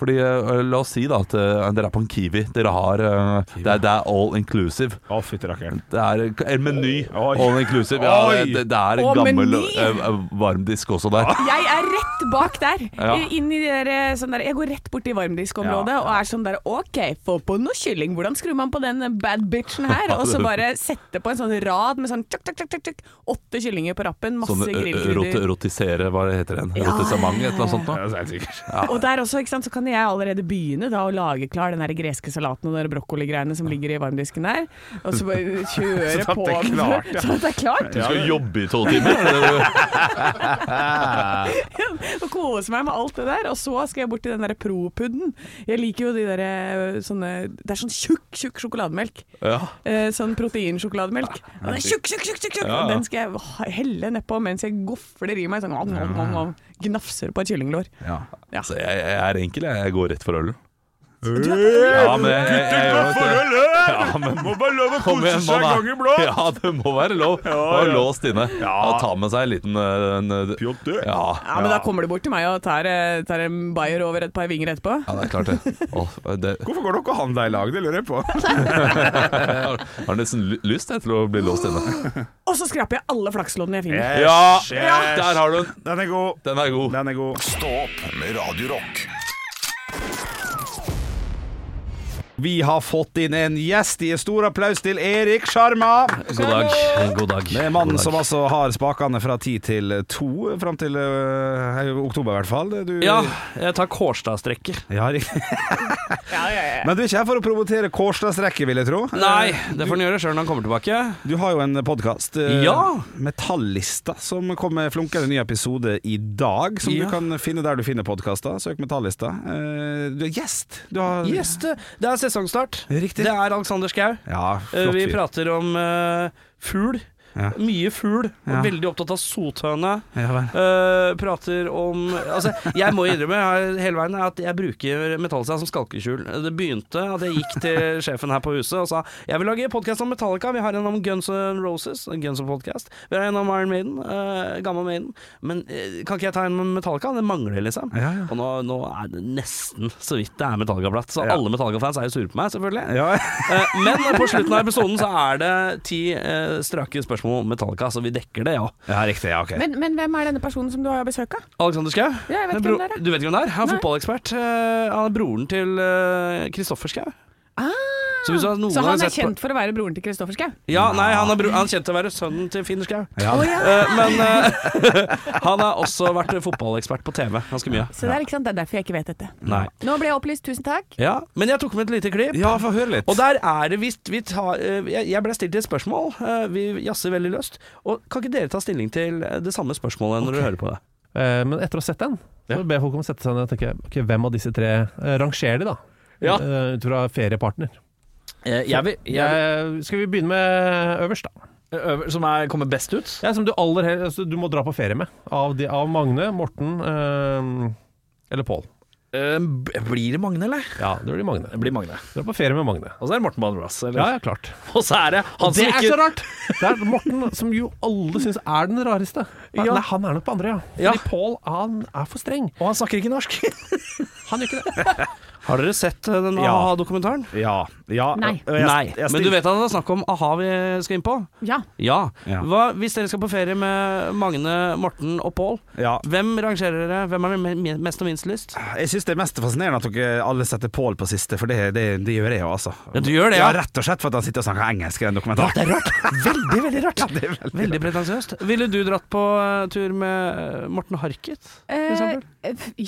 D: Fordi, eh, La oss si da at eh, dere er på en Kiwi. Dere har, eh, det, er, det er all inclusive.
B: Å, fytti rakkeren.
D: Det er en- en meny.
B: Oi.
D: All inclusive. Ja,
B: Oi.
D: det, det er en
A: Å,
D: gammel
A: meny.
D: eh, eh, varmdisk også der.
B: Ah.
A: Jeg er rett bak der.
D: Ja.
A: Inn i det der, sånn der. Jeg går rett bort i varmdiskområdet
B: Ja,
A: og er sånn der OK, få på noe kylling. Hvordan skrur man på den bad bitchen her? Og så bare sette på en sånn rad med sånn tjukk, tjukk, tjukk, tjukk, tjukk. Åtte kyllinger på rappen, masse
D: Sånn eh, rot,
A: grillkrydder.
D: rotisere, hva heter det?
A: Ja.
D: Rotisament, et eller annet sånt
B: Ja,
D: noe?
B: det er helt sikkert.
A: Og der også, ikke sant, så kan jeg allerede begynne da å lage klar den der greske salaten og de der brokkoligreiene som ligger i varmdisken der. Og så bare kjøre
B: Sånn at
A: på.
B: det er
A: med-
B: klart, ja.
A: Sånn at det er klart.
D: Du skal jobbe i tolv timer?
A: og kose meg med alt det der. Og så skal jeg bort til den der pro-pudden. Jeg liker jo de der eh, sånne Det er sånn tjukk, tjukk sjokolademelk.
D: ja.
A: Eh, sånn proteinsjokolademelk. Og Den er tjukk, tjukk, tjukk, tjukk, tjukk.
D: Ja, ja.
A: Og den skal jeg ha- helle nedpå mens jeg gofler i meg sånn om, om, om, om, Gnafser på et kyllinglår.
B: Ja.
A: Ja.
D: Så jeg, jeg er enkel, jeg. Jeg går rett for ølen.
A: Du er-
D: Ja, men jeg, jeg, jeg gjør nok det. Ja, men
B: Må bare lov å
D: Kom igjen, mann. da. Ja, det må være lov. Og låst inne. Og ta med seg en liten eh, en, eh, ja.
A: Ja, men da kommer du bort til meg og tar, eh, tar en bayer over et par vinger etterpå.
D: ja, det er klart det. Åh, eh, det
B: Hvorfor går dere og handler i lag, det lurer jeg på.
D: jeg har- har nesten ly- lyst jeg, til å bli låst inne.
A: Og så skraper jeg alle flaksloddene jeg finner.
B: Eh,
D: Ja,
B: Yes, yes.
D: der har du den.
B: Den er god.
D: Den er god.
B: Den er god.
C: Stå opp med Radio Rock.
B: Vi har fått inn en gjest. Gi en stor applaus til Erik Sjarma.
D: God dag. God dag.
B: Det er mannen
D: God dag.
B: som altså har spakene fra ti til to, fram til øh, i oktober i hvert fall. Du,
H: Ja, jeg tar Kårstadstrekket.
B: Ja, riktig. Men du er ikke her for å promotere Kårstadstrekket, vil jeg tro.
H: Nei,
B: Eh,
H: det får han gjøre sjøl når han kommer tilbake.
B: Du har jo en podkast,
H: Ja.
B: Metallista, som kom med flunkende ny episode i dag. Som
H: Ja.
B: du kan finne der du finner podkaster. Søk Metallista. Eh, du er gjest. Du har
H: Yes, det det er sesongstart.
B: Riktig.
H: Det er Alexander Schou.
B: Ja,
H: Eh,
B: flott
H: Vi
B: fyr.
H: prater om eh, fugl.
B: Ja.
H: Mye fugl. og
B: Ja.
H: Veldig opptatt av sothøne.
B: Ja, vel.
H: Eh, prater om Altså, jeg må innrømme her hele veien at jeg bruker Metallica som skalkeskjul. Det begynte at jeg gikk til sjefen her på huset og sa jeg vil lage podkast om Metallica. Vi har en om Guns N' Roses, en Guns podcast. Vi har en om Iron Maiden, eh, gammel Maiden. Men eh, kan ikke jeg ta en om Metallica? Det mangler, liksom.
B: Ja, ja.
H: Og nå, nå er det nesten så vidt det er Metallica-blatt. Så
B: Ja.
H: alle Metallica-fans er jo sure på meg, selvfølgelig.
B: Ja.
H: Eh, Men på slutten av episoden så er det ti eh, strake spørsmål om Metallica, så vi dekker det, ja.
B: ja, riktig. Ja, ok.
A: Men, men hvem er denne personen som du har besøk av?
H: Alexander Schou.
A: Ja, jeg vet ikke hvem
H: Bro-
A: det er, jeg.
H: Du vet ikke hvem det er? Han er
A: Nei.
H: fotballekspert. Eh, Han er broren til eh, Kristoffer Schou.
A: Ah!
H: Så hvis du har noen
A: så han
H: gang
A: er
H: sett på-
A: kjent for å være broren til Kristoffer Schau?
H: Ja, nei, han er, bro han er kjent til å være sønnen til Finn Schou.
B: Ja.
A: Å, ja.
H: Eh, Men eh, han har også vært fotballekspert på TV ganske mye.
A: Så det er, ikke sant? det er derfor jeg ikke vet dette.
H: Nei.
A: Nå ble jeg opplyst, tusen takk.
H: Ja, men jeg tok med et lite klipp.
B: ja, få høre litt.
H: Og der er det visst vi tar, eh, Jeg jeg ble stilt et spørsmål. eh, Vi jazzer veldig løst. Og kan ikke dere ta stilling til eh, det samme spørsmålet når dere hører på det?
I: Eh, Men etter å ha sett den, så ber jeg folk om å sette seg ned og tenke ok, hvem av disse tre eh, rangerer de, da?
H: Ja.
I: Eh, Ut fra feriepartner.
J: Eh, Jeg vil, jeg,
I: Jeg, skal vi begynne med eh, øverst, da?
J: øver- som er, kommer best ut?
I: Ja, som du aller hel- altså, Du må dra på ferie med. Av, de, av Magne, Morten eh, eller Pål.
J: Eh, b- blir det Magne, eller?
I: Ja, det blir Magne.
J: Det blir Magne.
I: Dra på ferie med Magne.
J: Og så er det Morten Banrass. eller?
I: Ja, ja, klart.
J: Og så er det han
I: Det
J: som
I: er
J: ikke
I: så rart! Det er Morten, som jo alle syns er den rareste. Nei,
J: Ja.
I: nei, han er nok på andre, ja. Fordi
J: Ja.
I: Pål, han er for streng.
J: Og han snakker ikke norsk.
I: Han gjør ikke det.
H: Har dere sett eh, den
B: Ja.
H: A-dokumentaren?
B: Ja. ja.
A: Nei.
B: og jeg-
H: Nei.
B: jeg
H: Men du vet at det er snakk om a-ha vi skal inn på?
A: Ja.
H: Ja.
B: Ja.
H: Hva, hvis dere skal på ferie med Magne, Morten og Pål,
B: Ja.
H: hvem rangerer dere? Hvem har me- me- mest og minst lyst?
B: Jeg syns det er mest fascinerende at dere alle setter Pål på siste, for det, det, det gjør jeg jo, altså.
H: Ja, du gjør det,
B: ja.
H: ja.
B: Rett og slett for at han sitter og snakker engelsk i den dokumentaren.
H: Det er rart. Veldig, veldig rart.
B: Ja, det er veldig
H: Veldig pretensiøst. Ville du dratt på eh, tur med eh, Morten Harket? for
A: Eh,
H: eksempel?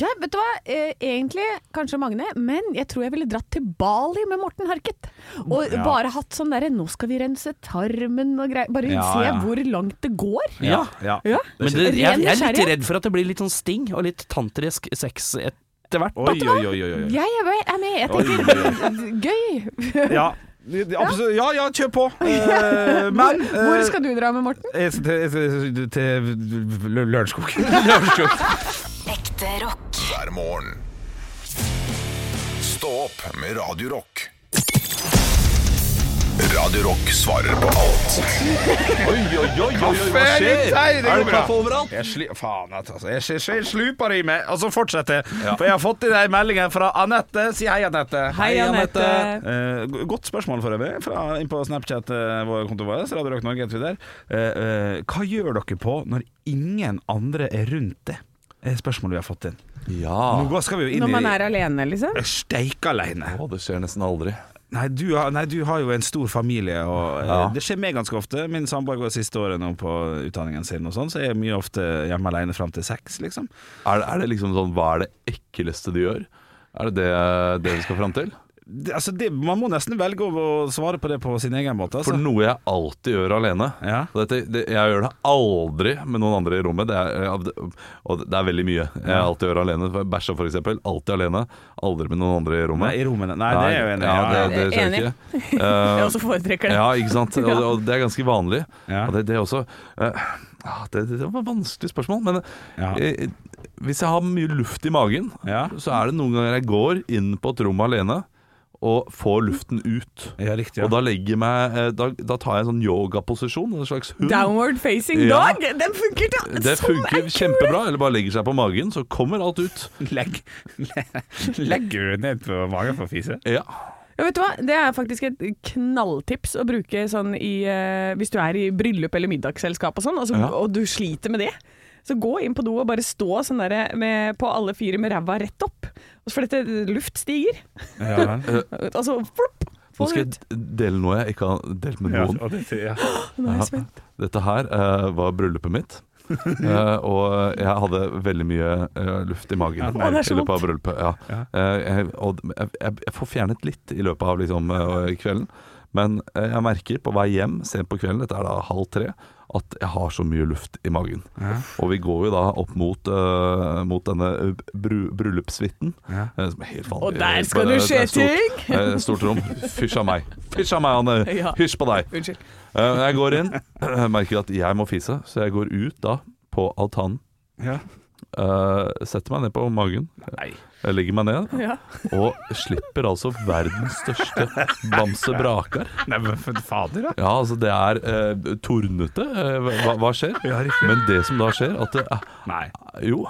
A: ja, vet du hva. Eh, egentlig kanskje Magne, men jeg tror jeg ville dratt til Bali med Morten Harket. Og
B: Ja.
A: bare hatt sånn derre 'nå skal vi rense tarmen' og greier. Bare
B: Ja,
A: se
B: ja.
A: hvor langt det går.
H: Ja.
B: ja.
A: Ja.
H: Men det, jeg, jeg er litt
A: nysgjerrighet.
H: redd for at det blir litt sånn sting og litt tantrisk sex etter hvert.
B: Oi, oi, oi, oi, oi.
A: Jeg er med- er med, jeg tenker gøy.
B: Ja. Absolutt. Ja, ja, kjør på. Eh, men
A: Hvor skal du dra med Morten?
B: eh, jeg- til, til, til Lø- Lørenskog.
E: Ekte rock.
C: hver morgen. Stå opp med Radio Rock. Radio Rock svarer på alt
D: Oi, oi, oi, oi, oi hva skjer?
B: Nei, det går
D: er det
B: bra.
D: kaffe overalt?
B: Jeg sli, faen, altså. Jeg, jeg, jeg sluper i meg, og så fortsetter jeg. For jeg har fått i deg meldingen fra Anette. Si hei, Anette.
A: Hei, Anette.
B: Eh, go- godt spørsmål for øvrig, fra inn på Snapchat, eh, vår konto vår, Radio Rock Norge, heter vi der. Eh, eh, hva gjør dere på når ingen andre er rundt det? Det er spørsmålet vi har fått inn.
D: Ja.
B: Nå går- skal vi jo inn
A: Ah. Når man
B: i
A: er alene, liksom?
B: Jeg er steik aleine.
D: Å, det skjer nesten aldri.
B: Nei du, har, nei, du har jo en stor familie, og eh,
D: Ja.
B: det skjer meg ganske ofte. Min samboer går siste året nå på utdanningen sin, og sånn, så jeg er mye ofte hjemme alene fram til seks, liksom.
D: Er det, er det liksom sånn Hva er det ekleste de gjør? Er det det, det vi skal fram til?
B: Det, altså, det, man må nesten velge å å svare på det på sin egen måte. Altså.
D: For noe jeg alltid gjør alene
B: Ja.
D: Og dette, det, Jeg gjør det aldri med noen andre i rommet Det er, eh, av det- og det er veldig mye Jeg alltid gjør alene For- Bæsja for eksempel Altid alene Aldri med noen andre i rommet
B: Nei, i rommene. Nei, det er jeg jo enig i.
D: ja,
B: Ja,
D: det, det skjer
A: Enig.
D: ikke Eh,
A: Jeg også foretrekker det.
D: Ja, ikke sant Og, det- og det er ganske vanlig
B: Ja.
D: Og det, det er også eh, ah, det, det var et vanskelig spørsmål Men
B: Ja.
D: eh, hvis jeg har mye luft i magen
B: Ja.
D: Så er det noen ganger jeg går inn på et rom alene Og får luften ut
B: ja, riktig. Ja.
D: og da, legger jeg meg, eh, da, da tar jeg en sånn yogaposisjon, en slags hund.
A: Downward facing
D: Ja.
A: dog! Den funker da! Sånn
D: Det
A: som
D: funker
A: en kule.
D: kjempebra. Eller bare legger seg på magen, så kommer alt ut.
B: Legg, legger du ned på magen for å fise?
D: Ja.
A: Ja, vet du hva? Det er faktisk et knalltips å bruke sånn i, eh, hvis du er i bryllup eller middagsselskap og sånn, altså,
D: Ja.
A: og du sliter med det. Så gå inn på do og bare stå sånn der med, på alle fire med ræva rett opp. For dette eh, luft stiger.
B: Ja, vel.
A: Altså flopp!
D: Nå
A: Få det
D: skal
A: ut.
D: jeg dele noe jeg ikke har delt med
B: Ja,
D: noen.
B: og det, ja.
A: Nå er jeg spent.
D: Dette her eh, var bryllupet mitt. Eh, og jeg hadde veldig mye eh, luft i magen
A: Å, det er så
D: i løpet av bryllupet. Ja. Eh, jeg- og jeg, jeg, jeg får fjernet litt i løpet av liksom, eh, kvelden. Men eh, jeg merker på vei hjem sent på kvelden, dette er da halv tre, at jeg har så mye luft i magen. Og vi går jo da opp mot, eh, mot denne bru, bryllupssuiten, eh, som er helt vanlig.
A: Og der skal
D: Bare-
A: du se
D: det er stort-
A: ting!
D: eh, Stort rom. Fysj av meg. Fysj av meg, Anne.
A: Ja.
D: Hysj på deg.
A: Unnskyld.
D: Eh, Jeg går inn, jeg merker at jeg må fise, så jeg går ut da på altanen.
B: Ja.
D: Eh, setter meg ned på magen.
B: Nei.
D: Jeg legger meg ned
A: Ja.
D: og slipper altså verdens største bamsebrakar.
B: Nei, men for fader, da.
D: Ja, altså det er eh, tornete. Eh, hva, hva skjer? Men det som da skjer, at det er,
B: Nei.
D: Jo.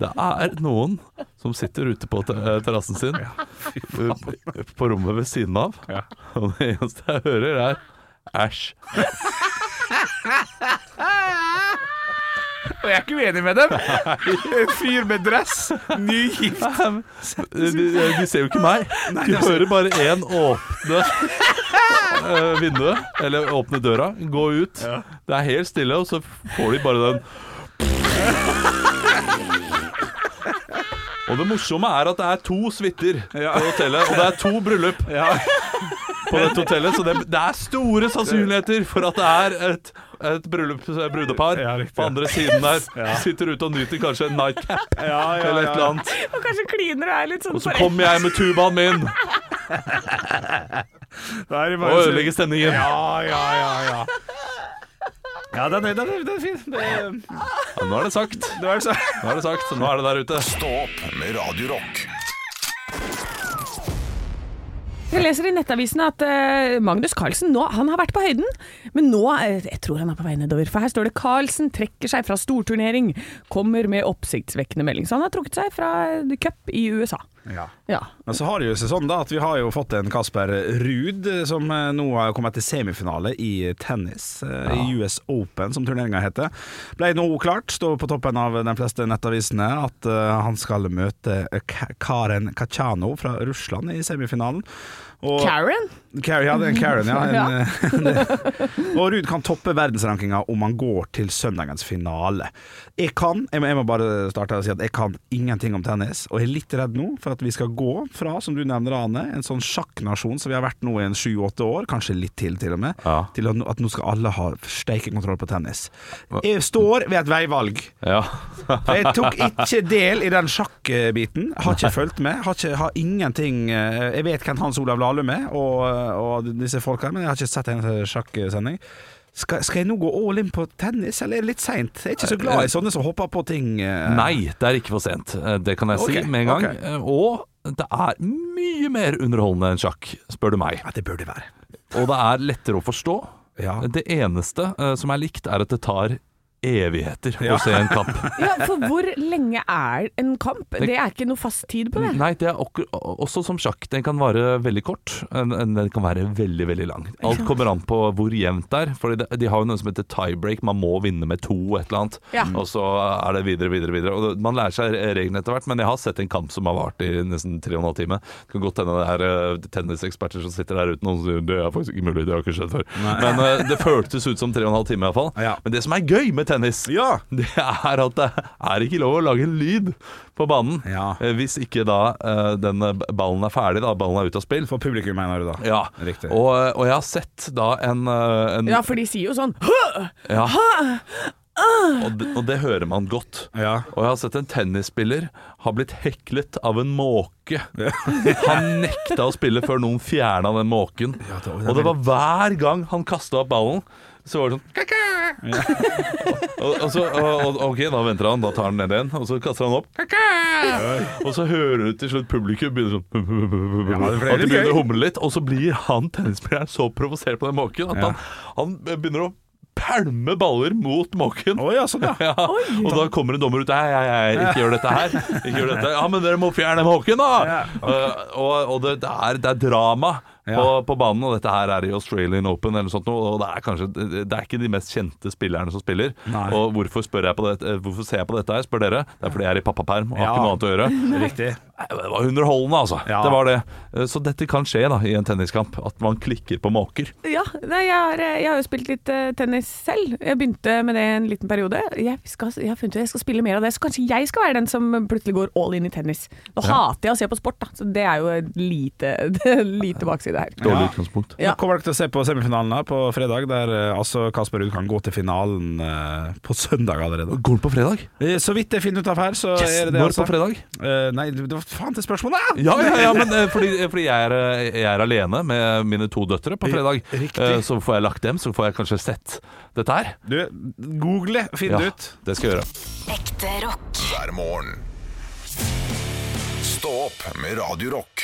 D: Det er noen som sitter ute på te- eh, terrassen sin, eh, på rommet ved siden av,
B: Ja.
D: og det eneste jeg hører, er æsj.
B: Og jeg er ikke uenig med dem. En fyr med dress, nygift
D: De, de de ser jo ikke meg. De hører bare én åpne eh, vinduet, eller åpne døra, gå ut. Det er helt stille, og så får de bare den Og det morsomme er at det er to suiter på hotellet, og det er to bryllup. på dette hotellet, så det, det er store sannsynligheter for at det er et, et bryllup, eh, brudepar
I: Ja, riktig.
D: på andre siden der. Sitter ute og nyter kanskje en nightcap eller et eller annet.
A: Og kanskje kliner og er litt sånn
D: Og så kommer jeg med tubaen min
I: Da er det
D: og
I: bare å
D: ødelegger stemningen.
I: Ja, ja, ja. ja. Ja, den er, den er, den er fin. Det,
D: Ja, nå er det sagt.
I: det er altså- så.
D: Nå er det sagt. Nå er det der ute.
C: Stå opp med Radio Rock.
A: Jeg leser i Nettavisen at eh, Magnus Carlsen nå, han har vært på høyden, men nå eh, jeg tror han er på vei nedover. For her står det 'Carlsen trekker seg fra storturnering', kommer med oppsiktsvekkende melding. Så han har trukket seg fra eh, cup i USA.
B: Ja.
A: Ja.
B: Men så har det jo seg sånn da at vi har jo fått en Kasper Ruud eh, som eh, nå har kommet til semifinale i tennis, eh, i US Open som turneringa heter. Ble nå klart, står på toppen av de fleste nettavisene, at eh, han skal møte eh, Ka- Karen Kachanov fra Russland i semifinalen. Og-
A: Karen?
B: Karen, ja, det er en Karen, ja. En, eh,
A: Ja.
B: Og Ruud kan toppe verdensrankinga om han går til søndagens finale. Jeg kan jeg må, jeg må bare starte her og si at jeg kan ingenting om tennis, og jeg er litt redd nå for at vi skal gå fra, som du nevner, Ane, en sånn sjakknasjon som vi har vært nå i en sju-åtte år, kanskje litt til til og med,
D: Ja.
B: til at, nå- at nå skal alle ha steikekontroll på tennis. Jeg står ved et veivalg.
D: Ja.
B: Jeg tok ikke del i den sjakkbiten. Har ikke fulgt med. Har, ikke, har ingenting eh, Jeg vet hvem Hans Olav Lahlum er, og, og disse folka, men jeg har ikke sett en sjakksending. Skal, skal jeg nå gå all in på tennis, eller er det litt seint? Jeg er ikke så glad i sånne som hopper på ting. eh.
D: Eh, Nei, det er ikke for sent. Eh, Det kan jeg si
B: Ok,
D: med en gang.
B: ok.
D: Eh, Og det er mye mer underholdende enn sjakk, spør du meg.
B: Ja, det burde det være.
D: Og det er lettere å forstå.
B: Ja.
D: Det eneste eh, som er likt, er at det tar evigheter å se en kamp.
A: Ja, for hvor lenge er en kamp? Det er ikke noe fast tid på det.
D: Nei, det er akkur også som sjakk. Den kan vare veldig kort, en- en- den kan være veldig veldig lang. Alt kommer an på hvor jevnt det er. For de har jo noe som heter tiebreak. Man må vinne med to, et eller annet.
A: Ja.
D: Og så er det videre, videre, videre. Og det- man lærer seg reglene etter hvert, men jeg har sett en kamp som har vart i nesten tre og en halv time. Det kan godt hende det er eh, tenniseksperter som sitter der ute og sier det er faktisk ikke mulig, det har ikke skjedd før. Men eh, det føltes ut som tre og en halv time iallfall.
B: Ja.
D: Men det som er gøy med tennis,
B: Ja.
D: det er at det er ikke lov å lage en lyd på banen.
B: Ja.
D: Eh, Hvis ikke da eh, den eh, ballen er ferdig, da ballen er ute av spill.
B: For publikum, mener du da?
D: Ja,
B: Riktig.
D: og, eh, og jeg har sett da en, eh, en
A: Ja, for de sier jo sånn «Hø!»
D: ja. Og, det, og det hører man godt.
B: Ja.
D: Og jeg har sett en tennisspiller har blitt heklet av en måke. Han nekta å spille før noen fjerna den måken.
B: det-
D: Og det var hver gang han kasta opp ballen, så var det sånn «Kaka!» og, og så, og, og, Ok, da venter han, da tar han ned igjen, og så kaster han opp. «Kaka!» Og så hører du til slutt publikum begynner sånn
B: Ja, det ble
D: At de
B: litt
D: begynner
B: gøy.
D: å humle litt, og så blir han tennisspilleren så provosert på den måken at
B: Ja.
D: han, han begynner å pælme baller mot måken.
B: Å ja, sånn ja.
D: Ja, og da kommer en dommer ut Nei, nei, nei, ikke gjør dette her Ikke gjør dette Ja, men dere må fjerne måken da Eh, Og, og det, det, er, det er drama på,
B: Ja.
D: på banen Og dette her er i Australian Open eller noe sånt noe, Og det er kanskje Det er ikke de mest kjente spillerne som spiller
B: Nei.
D: Og hvorfor, spør jeg på det, eh, hvorfor ser jeg på dette her, spør dere Det er fordi jeg er i pappaperm og har
B: Ja.
D: ikke noe annet å gjøre
B: Riktig.
D: Nei, men Det var underholdende altså
B: Ja.
D: Det var det Eh, Så dette kan skje da i en tenniskamp At man klikker på måker
A: Ja, nei, jeg, har, jeg har jo spilt litt eh, tennis selv. Jeg begynte med det en liten periode. Jeg, skal, jeg har funnet ut at jeg skal spille mer av det, så kanskje jeg skal være den som plutselig går all in i tennis. Nå hater jeg å se på sport, da, så det er jo et lite, lite bakside her.
D: Dårlig
B: Ja.
D: utgangspunkt
A: Ja.
B: Nå kommer dere til å se på semifinalen da, på fredag, der eh, altså Kasper Ruud kan gå til finalen eh, på søndag allerede.
D: Går den på fredag?
B: Eh, Så vidt jeg finner ut av her, så
D: Yes,
B: er det det
D: når
B: altså.
D: på fredag?
B: Eh, nei, det var faen til spørsmålet!
D: Ja, ja, ja men eh, fordi, fordi jeg, er, eh, jeg er alene med mine to døtre på fredag.
B: Riktig.
D: Eh, Så får jeg lagt dem, så får jeg kanskje sett dette her.
B: Du, google, finn det ut.
D: det skal jeg gjøre.
E: Ekte rock.
C: hver morgen. Stå opp med Radio Rock.